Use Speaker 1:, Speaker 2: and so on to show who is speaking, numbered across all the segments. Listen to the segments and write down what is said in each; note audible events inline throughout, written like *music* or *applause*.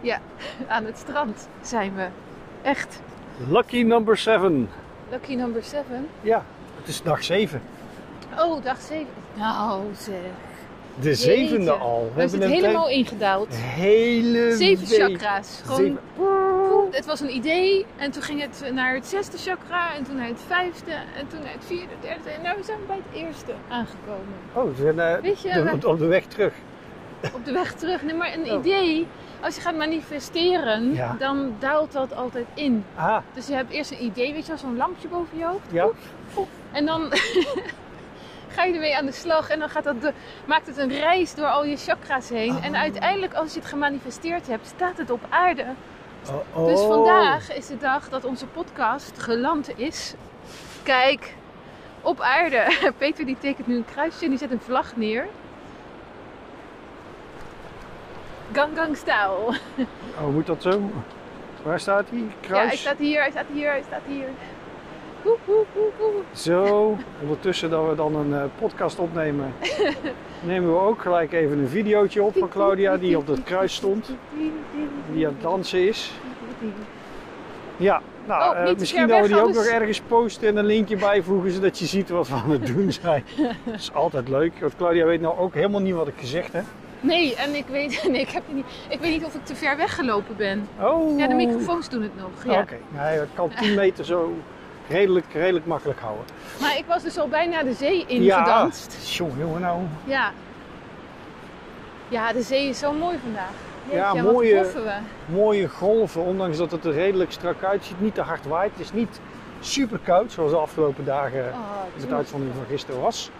Speaker 1: Ja, aan het strand zijn we. Echt.
Speaker 2: Lucky number 7.
Speaker 1: Lucky number 7.
Speaker 2: Ja, het is dag 7.
Speaker 1: Oh, dag 7. Nou zeg.
Speaker 2: De zevende
Speaker 1: Jeetje.
Speaker 2: al.
Speaker 1: We zitten
Speaker 2: een
Speaker 1: helemaal ingedaald.
Speaker 2: tijd- hele
Speaker 1: Zeven
Speaker 2: week-
Speaker 1: chakra's. Gewoon,
Speaker 2: Zeven-
Speaker 1: poeh, het was een idee en toen ging het naar het zesde chakra en toen naar het vijfde en toen naar het vierde, derde en nou we zijn bij het eerste aangekomen.
Speaker 2: Oh, we zijn eh,
Speaker 1: Weet je,
Speaker 2: de-
Speaker 1: we-
Speaker 2: op, op de weg terug.
Speaker 1: op de weg terug. Nee, maar een
Speaker 2: Oh.
Speaker 1: idee, als je gaat manifesteren,
Speaker 2: Ja.
Speaker 1: dan daalt dat altijd in.
Speaker 2: Ah,
Speaker 1: Dus je hebt eerst een idee, weet je wel, zo'n lampje boven je hoofd.
Speaker 2: ja.
Speaker 1: En dan ga je ermee aan de slag en dan gaat dat de- maakt het een reis door al je chakras heen.
Speaker 2: Ah.
Speaker 1: En uiteindelijk, als je het gemanifesteerd hebt, staat het op aarde.
Speaker 2: Oh, oh.
Speaker 1: Dus vandaag is de dag dat onze podcast geland is. Kijk, op aarde. Peter die tekent nu een kruisje en die zet een vlag neer. Gang gang style.
Speaker 2: Oh, moet dat zo? Waar staat hij?
Speaker 1: Ja, hij
Speaker 2: Kruis?
Speaker 1: staat hier, hij staat hier, hij staat hier. Woe, woe, woe, woe.
Speaker 2: Zo. *laughs* Ondertussen dat we dan een eh, podcast opnemen, nemen we ook gelijk even een videootje op van Claudia die op dat kruis stond. Die aan het dansen is. Ja, nou,
Speaker 1: Oh,
Speaker 2: eh,
Speaker 1: niet te ver
Speaker 2: misschien dat we
Speaker 1: weg,
Speaker 2: die ook
Speaker 1: anders-
Speaker 2: nog ergens posten en een linkje bijvoegen, zodat je ziet wat we aan het doen
Speaker 1: *laughs*
Speaker 2: zijn. dat is altijd leuk, want Claudia weet nou ook helemaal niet wat ik gezegd heb.
Speaker 1: Nee, en ik weet, *laughs* nee, ik, heb niet, ik weet niet of ik te ver weggelopen ben.
Speaker 2: Oh!
Speaker 1: Ja, de microfoons doen het nog.
Speaker 2: Oh,
Speaker 1: Ja.
Speaker 2: Oké, hij kan 10 meter zo redelijk, redelijk makkelijk houden.
Speaker 1: Maar ik was dus al bijna de zee
Speaker 2: Ja.
Speaker 1: ingedanst.
Speaker 2: Jongen, jongen, nou.
Speaker 1: Ja. Ja, de zee is zo mooi vandaag.
Speaker 2: Ja,
Speaker 1: Jeetje, wat
Speaker 2: mooie-
Speaker 1: proeven we.
Speaker 2: Mooie golven, ondanks dat het er redelijk strak uitziet, niet te hard waait. Het is niet super koud, zoals de afgelopen dagen
Speaker 1: Oh, het is
Speaker 2: met
Speaker 1: mooi.
Speaker 2: uitzondering van gisteren was.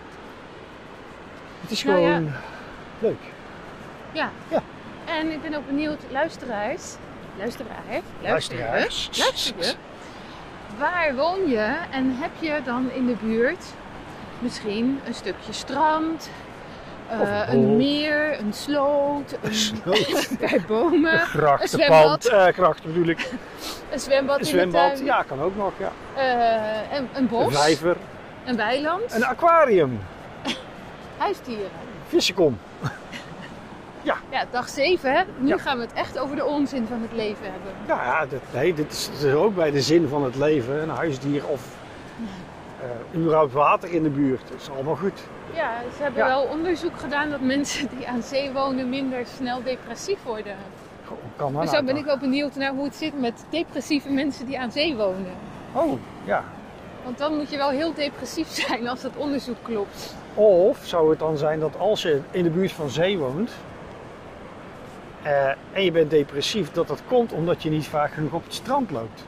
Speaker 2: Het is
Speaker 1: Nou ja.
Speaker 2: gewoon leuk.
Speaker 1: En ik ben ook benieuwd, luisteraars, luisteraar, luisteraar,
Speaker 2: Luisteraars.
Speaker 1: luisteren. Waar woon je en heb je dan in de buurt misschien een stukje strand, eh,
Speaker 2: Of een
Speaker 1: een
Speaker 2: bos.
Speaker 1: meer, een sloot, een
Speaker 2: Sloot.
Speaker 1: bij bomen,
Speaker 2: Krachtenpand, eh krachten bedoel ik.
Speaker 1: een zwembad,
Speaker 2: Een
Speaker 1: in de
Speaker 2: zwembad,
Speaker 1: tuin,
Speaker 2: ja, kan ook nog. Ja.
Speaker 1: eh, een, een
Speaker 2: Een
Speaker 1: ehm, bos,
Speaker 2: vijver,
Speaker 1: een weiland,
Speaker 2: een aquarium,
Speaker 1: huisdieren.
Speaker 2: vissenkom.
Speaker 1: Ja, dag 7, hè? Nu
Speaker 2: Ja.
Speaker 1: gaan we het echt over de onzin van het leven hebben.
Speaker 2: Nou ja, dit, nee, dit is, dit is ook bij de zin van het leven. Een huisdier of eh überhaupt water in de buurt. Dat is allemaal goed.
Speaker 1: Ja, ze hebben
Speaker 2: Ja.
Speaker 1: wel onderzoek gedaan dat mensen die aan zee wonen minder snel depressief worden.
Speaker 2: Goh, Kan maar
Speaker 1: dus
Speaker 2: nou
Speaker 1: zo ben
Speaker 2: toch.
Speaker 1: ik wel benieuwd naar hoe het zit met depressieve mensen die aan zee wonen.
Speaker 2: Oh, ja.
Speaker 1: Want dan moet je wel heel depressief zijn als dat onderzoek klopt.
Speaker 2: Of zou het dan zijn dat als je in de buurt van zee woont eh, en je bent depressief, dat dat komt omdat je niet vaak genoeg op het strand loopt?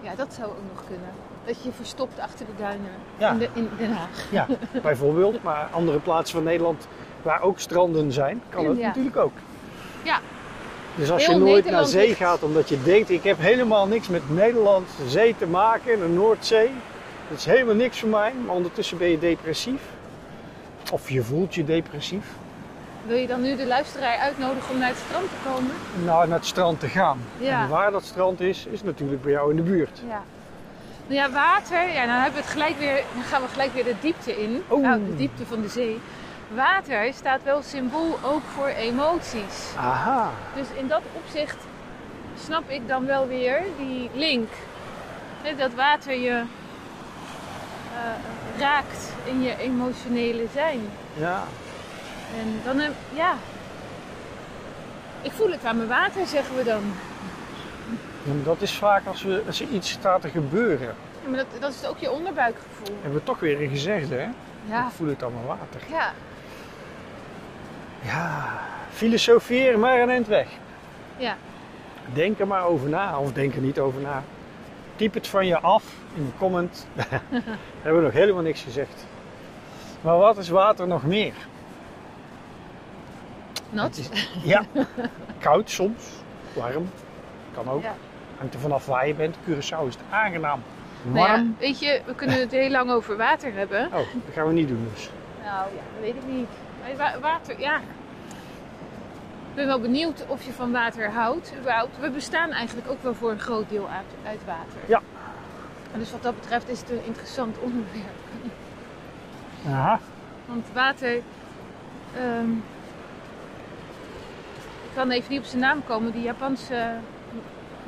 Speaker 1: Ja, dat zou ook nog kunnen. Dat je je verstopt achter de duinen
Speaker 2: Ja.
Speaker 1: in, de, in Den Haag.
Speaker 2: Ja, bijvoorbeeld. Maar andere plaatsen van Nederland waar ook stranden zijn, kan dat
Speaker 1: Ja.
Speaker 2: natuurlijk ook.
Speaker 1: Ja.
Speaker 2: Dus als
Speaker 1: Heel
Speaker 2: je nooit
Speaker 1: Nederland
Speaker 2: naar zee
Speaker 1: ligt-
Speaker 2: gaat omdat je denkt, ik heb helemaal niks met Nederland zee te maken, de Noordzee. Dat is helemaal niks voor mij, maar ondertussen ben je depressief. Of je voelt je depressief.
Speaker 1: Wil je dan nu de luisteraar uitnodigen om naar het strand te komen?
Speaker 2: Nou, naar het strand te gaan.
Speaker 1: Ja.
Speaker 2: En waar dat strand is, is natuurlijk bij jou in de buurt.
Speaker 1: Ja. Nou ja, water. Ja, dan, hebben we het gelijk weer, dan gaan we gelijk weer de diepte in.
Speaker 2: Oh.
Speaker 1: Nou, de diepte van de zee. Water staat wel symbool ook voor emoties.
Speaker 2: Aha.
Speaker 1: Dus in dat opzicht snap ik dan wel weer die link. Hè, dat water je eh, raakt in je emotionele zijn.
Speaker 2: Ja.
Speaker 1: En dan, heb- ja. Ik voel het aan mijn water, zeggen we dan.
Speaker 2: Ja, maar Dat is vaak als, we, als er iets staat te gebeuren.
Speaker 1: Ja, maar dat, dat is ook je onderbuikgevoel.
Speaker 2: Hebben we toch weer een gezegde, hè?
Speaker 1: Ja.
Speaker 2: Ik voel het allemaal water.
Speaker 1: Ja,
Speaker 2: Ja, filosofeer maar een eind weg.
Speaker 1: Ja.
Speaker 2: Denk er maar over na, of denk er niet over na. Typ het van je af in de *laughs* comment. Hebben we nog helemaal niks gezegd. Maar wat is water nog meer?
Speaker 1: nat.
Speaker 2: Ja, koud soms, warm, kan ook.
Speaker 1: Ja.
Speaker 2: Hangt er vanaf waar je bent. Curaçao is het aangenaam. Warm.
Speaker 1: Nou ja, weet je, we kunnen het heel lang over water hebben.
Speaker 2: Oh, dat gaan we niet doen dus.
Speaker 1: Nou ja, dat weet ik niet. Maar wa- water, ja. Ik ben wel benieuwd of je van water houdt. überhaupt. We bestaan eigenlijk ook wel voor een groot deel uit, uit water.
Speaker 2: Ja.
Speaker 1: En dus wat dat betreft is het een interessant onderwerp.
Speaker 2: Aha.
Speaker 1: Want water. ehm, Ik kan even niet op zijn naam komen, die Japanse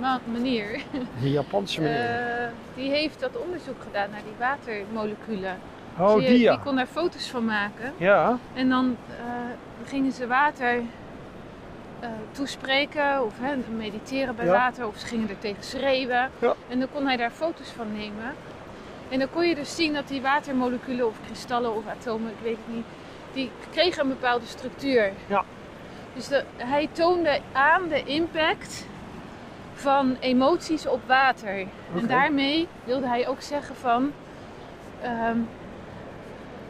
Speaker 1: ma- meneer.
Speaker 2: De Japanse meneer.
Speaker 1: Eh, die heeft dat onderzoek gedaan naar die watermoleculen.
Speaker 2: oh,
Speaker 1: Dus die,
Speaker 2: die ja.
Speaker 1: die kon daar foto's van maken.
Speaker 2: Ja,
Speaker 1: En dan eh, gingen ze water eh, toespreken of hè, mediteren bij
Speaker 2: Ja.
Speaker 1: water. Of ze gingen er tegen schreeuwen.
Speaker 2: Ja.
Speaker 1: En dan kon hij daar foto's van nemen. En dan kon je dus zien dat die watermoleculen of kristallen of atomen, ik weet het niet, die kregen een bepaalde structuur.
Speaker 2: Ja.
Speaker 1: Dus de- hij toonde aan de impact van emoties op water.
Speaker 2: Oké.
Speaker 1: En daarmee wilde hij ook zeggen van ehm,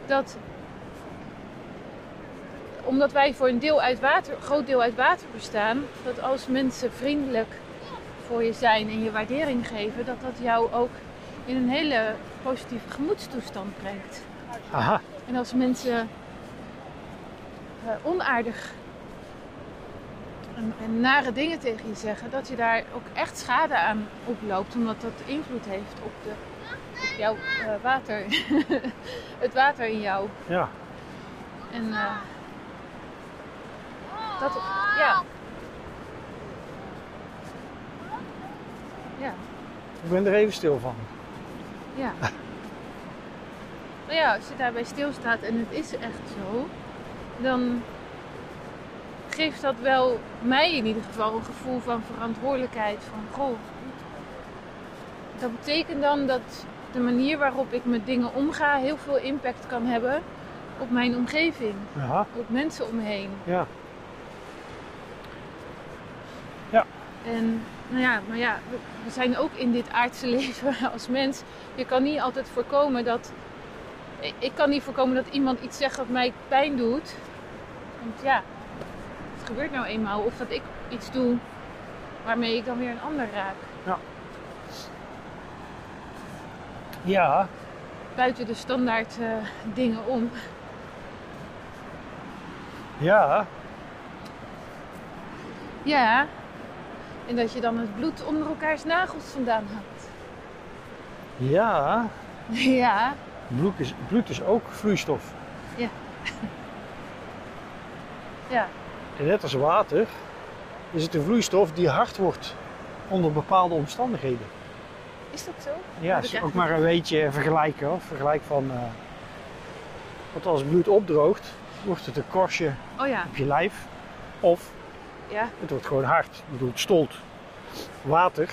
Speaker 1: dat omdat wij voor een deel uit water, een groot deel uit water bestaan, dat als mensen vriendelijk voor je zijn en je waardering geven, dat dat jou ook in een hele positieve gemoedstoestand brengt.
Speaker 2: aha.
Speaker 1: En als mensen eh, onaardig en, en nare dingen tegen je zeggen, dat je daar ook echt schade aan oploopt, omdat dat invloed heeft op, de, op jouw eh, water, *laughs* het water in jou.
Speaker 2: Ja.
Speaker 1: En eh, dat, ja. Ja,
Speaker 2: Ik ben er even stil van.
Speaker 1: ja. Nou ja, als je daarbij stilstaat en het is echt zo, dan geeft dat wel mij in ieder geval een gevoel van verantwoordelijkheid. Van goh, dat betekent dan dat de manier waarop ik met dingen omga heel veel impact kan hebben op mijn omgeving,
Speaker 2: Aha.
Speaker 1: op mensen om me heen.
Speaker 2: Ja.
Speaker 1: En nou ja, maar ja, we, we zijn ook in dit aardse *laughs* leven als mens. Je kan niet altijd voorkomen dat. ik- Ik kan niet voorkomen dat iemand iets zegt wat mij pijn doet. Want ja, het gebeurt nou eenmaal. Of dat ik iets doe waarmee ik dan weer een ander raak.
Speaker 2: Ja.
Speaker 1: Buiten de standaard eh, dingen om. *laughs*
Speaker 2: Ja.
Speaker 1: Ja. En dat je dan het bloed onder elkaars nagels vandaan haalt. *laughs*
Speaker 2: Ja.
Speaker 1: ja.
Speaker 2: Bloed is, bloed is ook vloeistof.
Speaker 1: Ja.
Speaker 2: En net als water is het een vloeistof die hard wordt onder bepaalde omstandigheden.
Speaker 1: Is dat zo?
Speaker 2: Ja,
Speaker 1: Heb
Speaker 2: is
Speaker 1: ik
Speaker 2: ook maar een weetje en vergelijken. Hoor. Vergelijk van. eh, want als bloed opdroogt, wordt het een korstje
Speaker 1: Oh ja.
Speaker 2: op je lijf. Of
Speaker 1: Ja.
Speaker 2: Het wordt gewoon hard. Ik bedoel, het stolt. Water,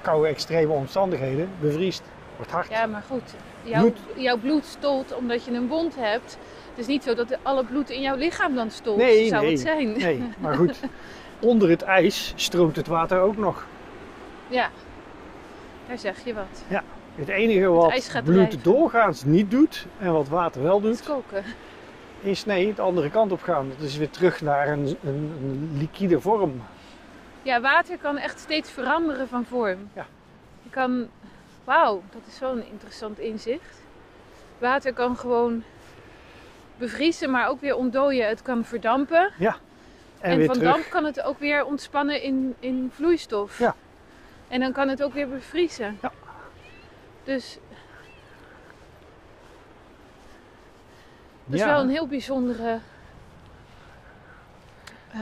Speaker 2: koude extreme omstandigheden, bevriest, wordt hard.
Speaker 1: Ja, maar goed, jouw
Speaker 2: Bloed.
Speaker 1: bloed, jouw bloed stolt omdat je een wond hebt. Het is niet zo dat alle bloed in jouw lichaam dan stolt,
Speaker 2: Nee,
Speaker 1: zou
Speaker 2: nee.
Speaker 1: het zijn. *laughs*
Speaker 2: Nee, maar goed, onder het ijs stroomt het water ook nog.
Speaker 1: Ja, daar zeg je wat.
Speaker 2: Het enige
Speaker 1: ijs
Speaker 2: wat
Speaker 1: gaat
Speaker 2: bloed
Speaker 1: drijven.
Speaker 2: doorgaans niet doet en wat water
Speaker 1: Het
Speaker 2: wel doet,
Speaker 1: koken.
Speaker 2: is nee, de andere kant op gaan. Dat is weer terug naar een, een, een liquide vorm.
Speaker 1: Ja, water kan echt steeds veranderen van vorm.
Speaker 2: Ja.
Speaker 1: Je kan, wauw, dat is wel een interessant inzicht. Water kan gewoon bevriezen, maar ook weer ontdooien. Het kan verdampen.
Speaker 2: En,
Speaker 1: En,
Speaker 2: weer
Speaker 1: van
Speaker 2: terug.
Speaker 1: damp kan het ook weer ontspannen in, in vloeistof.
Speaker 2: Ja.
Speaker 1: En dan kan het ook weer bevriezen.
Speaker 2: Ja.
Speaker 1: Dus dat is
Speaker 2: ja,
Speaker 1: dus wel een heel bijzondere. eh,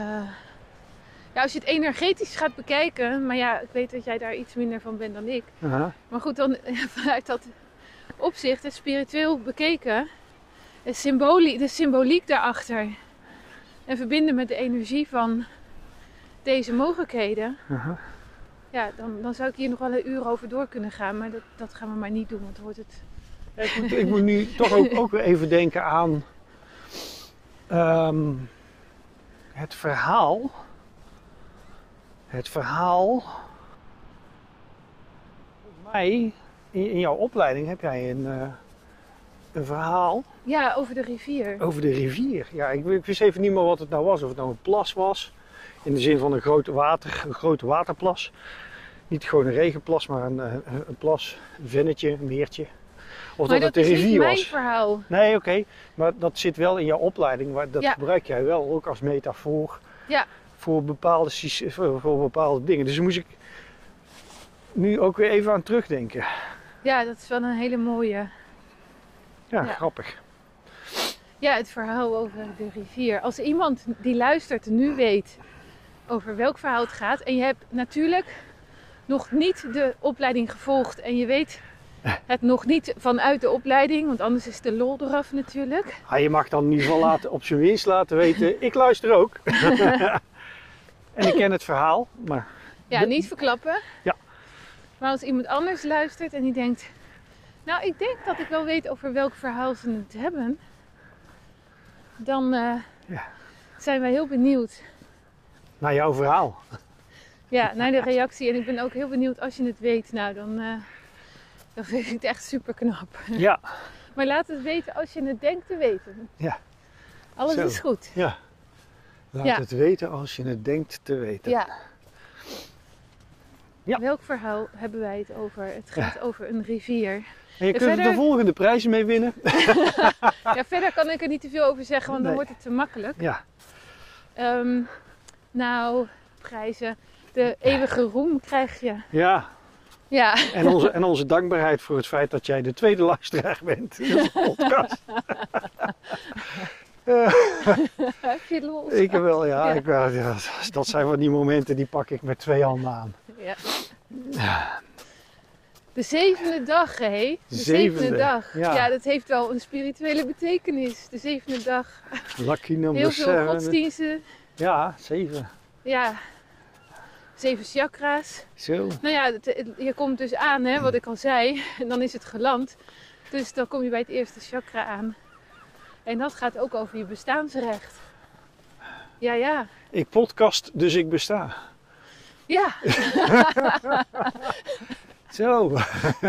Speaker 1: ja, als je het energetisch gaat bekijken, maar ja, ik weet dat jij daar iets minder van bent dan ik.
Speaker 2: aha.
Speaker 1: Maar goed, dan *laughs* vanuit dat opzicht, het spiritueel bekeken, de symboliek, de symboliek daarachter. En verbinden met de energie van deze mogelijkheden.
Speaker 2: aha.
Speaker 1: Ja, dan, dan zou ik hier nog wel een uur over door kunnen gaan. Maar dat, dat gaan we maar niet doen, want dan wordt het...
Speaker 2: Ik moet, ik moet nu toch ook, ook weer even denken aan ehm, het verhaal. Het verhaal. Volgens mij, in, in jouw opleiding heb jij een, eh, een verhaal
Speaker 1: Ja, over de rivier.
Speaker 2: over de rivier. Ja, ik, ik wist even niet meer wat het nou was. Of het nou een plas was. In de zin van een groot, water, een groot waterplas. Niet gewoon een regenplas, maar een, eh, een, een plas, een vennetje, een meertje. Of
Speaker 1: maar
Speaker 2: dat, het de
Speaker 1: is niet
Speaker 2: rivier
Speaker 1: mijn
Speaker 2: was.
Speaker 1: verhaal.
Speaker 2: Nee, oké. Maar dat zit wel in jouw opleiding. Maar dat
Speaker 1: Ja.
Speaker 2: gebruik jij wel ook als metafoor
Speaker 1: Ja.
Speaker 2: voor, bepaalde, sys- voor, voor bepaalde dingen. Dus daar moest ik nu ook weer even aan terugdenken.
Speaker 1: Ja, dat is wel een hele mooie. Ja.
Speaker 2: Ja, grappig.
Speaker 1: Ja, het verhaal over de rivier. Als iemand die luistert nu weet over welk verhaal het gaat. En je hebt natuurlijk nog niet de opleiding gevolgd. En je weet het nog niet vanuit de opleiding. Want anders is de lol eraf natuurlijk.
Speaker 2: Ah, je mag dan in ieder geval laten, op zijn winst laten weten, ik luister *laughs* ook. en ik ken het verhaal, maar
Speaker 1: Ja,
Speaker 2: De-
Speaker 1: niet verklappen.
Speaker 2: Ja.
Speaker 1: Maar als iemand anders luistert en die denkt... Nou, ik denk dat ik wel weet over welk verhaal ze het hebben. Dan eh,
Speaker 2: Ja.
Speaker 1: zijn wij heel benieuwd.
Speaker 2: naar jouw verhaal.
Speaker 1: Ja, naar de reactie. En ik ben ook heel benieuwd als je het weet. Nou, dan, eh, dan vind ik het echt super knap.
Speaker 2: Ja,
Speaker 1: Maar laat het weten als je het denkt te weten.
Speaker 2: Ja.
Speaker 1: Alles
Speaker 2: Zo.
Speaker 1: is goed.
Speaker 2: ja. Laat
Speaker 1: Ja.
Speaker 2: het weten als je het denkt te weten.
Speaker 1: Ja.
Speaker 2: Ja.
Speaker 1: Welk verhaal hebben wij het over? Het gaat over een rivier.
Speaker 2: En je
Speaker 1: En
Speaker 2: kunt er
Speaker 1: verder-
Speaker 2: de volgende prijzen mee winnen.
Speaker 1: Ja, verder kan ik er niet te veel over zeggen, want dan
Speaker 2: Nee.
Speaker 1: wordt het te makkelijk.
Speaker 2: Ja,
Speaker 1: Ehm, nou, prijzen. De eeuwige roem krijg je.
Speaker 2: ja.
Speaker 1: Ja, *laughs*
Speaker 2: En onze, en onze dankbaarheid voor het feit dat jij de tweede luisteraar bent in onze podcast. Eh,
Speaker 1: heb je lol?
Speaker 2: ik wel, ja,
Speaker 1: Ja.
Speaker 2: Ik, wel, ja. Dat zijn wel die momenten die pak ik met twee handen aan.
Speaker 1: Ja. De zevende dag, hé? De zevende,
Speaker 2: Zevende,
Speaker 1: dag.
Speaker 2: ja.
Speaker 1: Ja. dat heeft wel een spirituele betekenis. De zevende dag.
Speaker 2: Lucky number
Speaker 1: Heel
Speaker 2: seven.
Speaker 1: veel godsdiensten.
Speaker 2: Ja, zeven.
Speaker 1: Ja. Zeven chakra's.
Speaker 2: Zo.
Speaker 1: Nou ja, het- het- je komt dus aan, hè, wat ik al zei. *laughs* En dan is het geland. Dus dan kom je bij het eerste chakra aan. En dat gaat ook over je bestaansrecht. Ja, ja.
Speaker 2: Ik podcast, dus ik besta.
Speaker 1: Ja,
Speaker 2: Zo.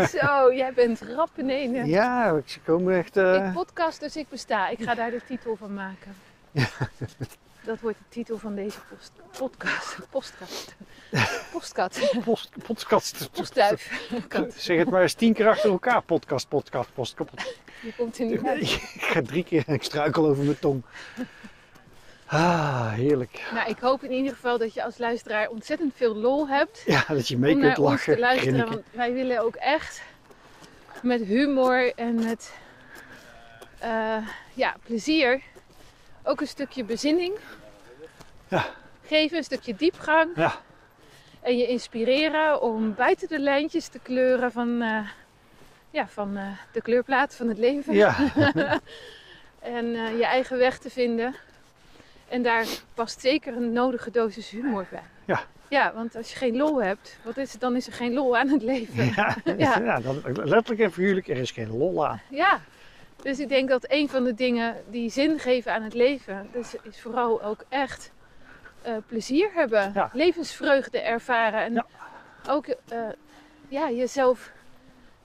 Speaker 1: zo. Jij bent rap in ene.
Speaker 2: Ja, ze komen echt... eh,
Speaker 1: Ik podcast, dus ik besta. Ik ga daar de titel van maken. Dat wordt de titel van deze post, podcast. Postkast. Postkat.
Speaker 2: post- podcast.
Speaker 1: Postduif. Kat.
Speaker 2: Zeg het maar eens tien keer achter elkaar. Podcast, podcast, podcast.
Speaker 1: Je komt er niet uit.
Speaker 2: Ik ga drie keer en ik struikel over mijn tong. Ah, heerlijk.
Speaker 1: Nou, ik hoop in ieder geval dat je als luisteraar ontzettend veel lol hebt.
Speaker 2: Ja, dat je mee
Speaker 1: Om
Speaker 2: kunt
Speaker 1: naar ons
Speaker 2: lachen.
Speaker 1: te luisteren.
Speaker 2: grinniken.
Speaker 1: Want wij willen ook echt met humor en met eh, ja, plezier ook een stukje bezinning
Speaker 2: Ja.
Speaker 1: geven. Een stukje diepgang.
Speaker 2: Ja,
Speaker 1: En je inspireren om buiten de lijntjes te kleuren van, eh, ja, van eh, de kleurplaat van het leven.
Speaker 2: ja,
Speaker 1: En eh, je eigen weg te vinden. En daar past zeker een nodige dosis humor bij.
Speaker 2: Ja.
Speaker 1: Ja, want als je geen lol hebt, wat is het, dan is er geen lol aan het leven. Ja.
Speaker 2: ja.
Speaker 1: Ja.
Speaker 2: *laughs* ja dat, letterlijk en figuurlijk, er is geen lol aan.
Speaker 1: Dus ik denk dat een van de dingen die zin geven aan het leven, dus is vooral ook echt eh, plezier hebben.
Speaker 2: Ja.
Speaker 1: Levensvreugde ervaren. En
Speaker 2: Ja.
Speaker 1: ook eh, ja, jezelf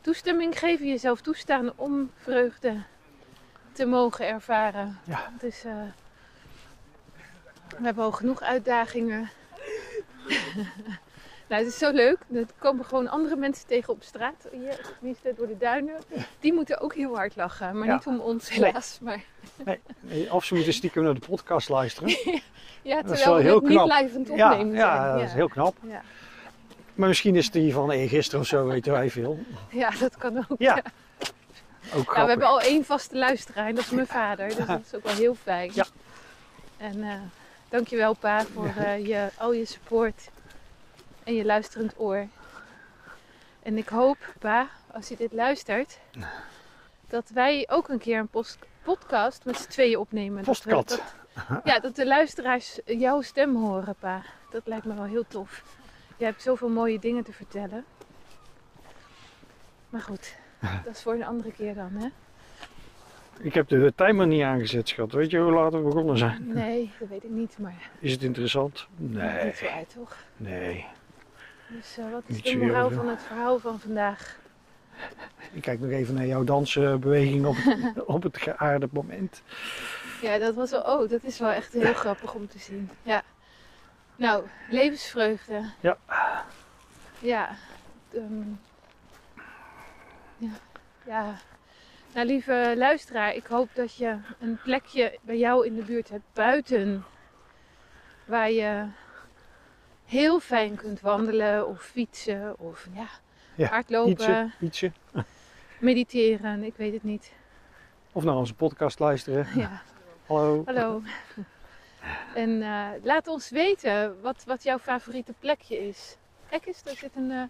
Speaker 1: toestemming geven, jezelf toestaan om vreugde te mogen ervaren.
Speaker 2: Ja.
Speaker 1: Dus eh, we hebben al genoeg uitdagingen. *laughs* nou, het is zo leuk. Er komen gewoon andere mensen tegen op straat. Hier, tenminste door de duinen. Die moeten ook heel hard lachen. Maar
Speaker 2: Ja.
Speaker 1: niet om ons,
Speaker 2: Nee.
Speaker 1: helaas. Maar,
Speaker 2: Of ze moeten stiekem naar de podcast
Speaker 1: *laughs*
Speaker 2: luisteren.
Speaker 1: ja,
Speaker 2: Dat is
Speaker 1: terwijl
Speaker 2: wel
Speaker 1: we
Speaker 2: heel
Speaker 1: het niet
Speaker 2: knap.
Speaker 1: live aan het
Speaker 2: Ja,
Speaker 1: opnemen
Speaker 2: ja,
Speaker 1: zijn.
Speaker 2: dat is heel knap.
Speaker 1: Ja.
Speaker 2: Maar misschien is die van eergisteren of zo, weten wij veel.
Speaker 1: Ja, dat kan ook.
Speaker 2: Ja, ook
Speaker 1: Ja, we
Speaker 2: grappig.
Speaker 1: hebben al één vaste luisteraar en dat is mijn vader.
Speaker 2: *laughs*
Speaker 1: Dus dat is ook wel heel fijn.
Speaker 2: Ja.
Speaker 1: En eh dankjewel pa voor eh, je, al je support en je luisterend oor. En ik hoop, pa, als je dit luistert, dat wij ook een keer een post- podcast met z'n tweeën opnemen. Dat we-
Speaker 2: Postkat.
Speaker 1: dat- ja, dat de luisteraars jouw stem horen, pa. Dat lijkt me wel heel tof. Je hebt zoveel mooie dingen te vertellen. Maar
Speaker 2: *laughs*
Speaker 1: goed, dat is voor een andere keer dan, hè?
Speaker 2: Ik heb de timer niet aangezet, schat. Weet je hoe laat we begonnen zijn?
Speaker 1: Nee, dat weet ik niet, maar
Speaker 2: Is het interessant?
Speaker 1: dat maakt
Speaker 2: Nee,
Speaker 1: niet zo uit, toch?
Speaker 2: nee.
Speaker 1: Dus eh, wat is
Speaker 2: Niet
Speaker 1: de
Speaker 2: zo heel
Speaker 1: moraal
Speaker 2: veel.
Speaker 1: van het verhaal van vandaag?
Speaker 2: Ik kijk nog even naar jouw dansbeweging op het, *laughs* op het geaarde moment.
Speaker 1: Ja, dat was wel, oh, dat is wel echt heel grappig om te zien. Ja. Nou, levensvreugde.
Speaker 2: Ja.
Speaker 1: Ja. ehm, ja. Ja. Nou, lieve luisteraar, ik hoop dat je een plekje bij jou in de buurt hebt buiten. Waar je heel fijn kunt wandelen of fietsen of ja,
Speaker 2: Ja,
Speaker 1: hardlopen.
Speaker 2: Ietsje, ietsje.
Speaker 1: Mediteren, ik weet het niet.
Speaker 2: Of naar onze podcast luisteren.
Speaker 1: Ja.
Speaker 2: Hallo.
Speaker 1: Hallo. En eh, laat ons weten wat, wat jouw favoriete plekje is. Kijk eens, er zit een, eh,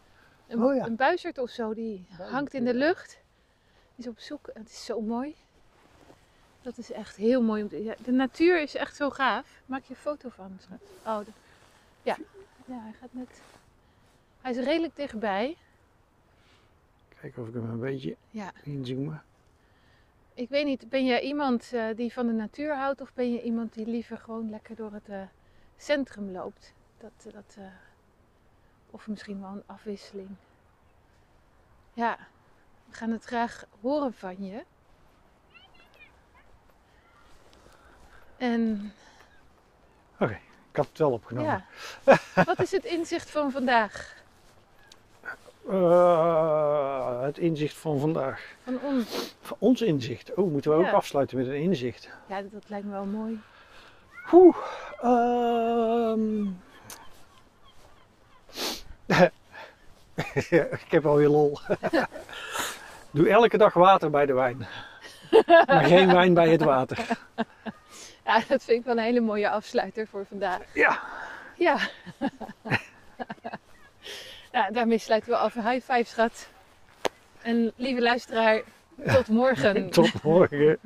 Speaker 1: een,
Speaker 2: Oh ja.
Speaker 1: een buizerd of zo, die hangt in de lucht. Die is op zoek, het is zo mooi. Dat is echt heel mooi. om te- ja, De natuur is echt zo gaaf. Maak je een foto van. schat. Oh, de- ja. ja, hij gaat net... Hij is redelijk dichtbij.
Speaker 2: Kijken of ik hem een beetje
Speaker 1: Ja.
Speaker 2: inzoomen.
Speaker 1: Ik weet niet, ben jij iemand eh, die van de natuur houdt of ben je iemand die liever gewoon lekker door het eh, centrum loopt? Dat, dat, eh, of misschien wel een afwisseling. Ja, we gaan het graag horen van je. En
Speaker 2: Ik had het wel opgenomen.
Speaker 1: ja, wat is het inzicht van vandaag?
Speaker 2: Eh, het inzicht van vandaag.
Speaker 1: Van ons?
Speaker 2: Van ons inzicht. Oh, moeten we
Speaker 1: Ja.
Speaker 2: ook afsluiten met een inzicht.
Speaker 1: Ja, dat lijkt me wel mooi.
Speaker 2: Oeh. ehm. *laughs* ik heb alweer lol. *laughs* Doe elke dag water bij de wijn. Maar geen wijn bij het water.
Speaker 1: Ja, *laughs* dat vind ik wel een hele mooie afsluiter voor vandaag.
Speaker 2: Ja,
Speaker 1: Ja. *laughs* ja, daarmee sluiten we af. High five, schat. En lieve luisteraar, tot morgen.
Speaker 2: tot morgen.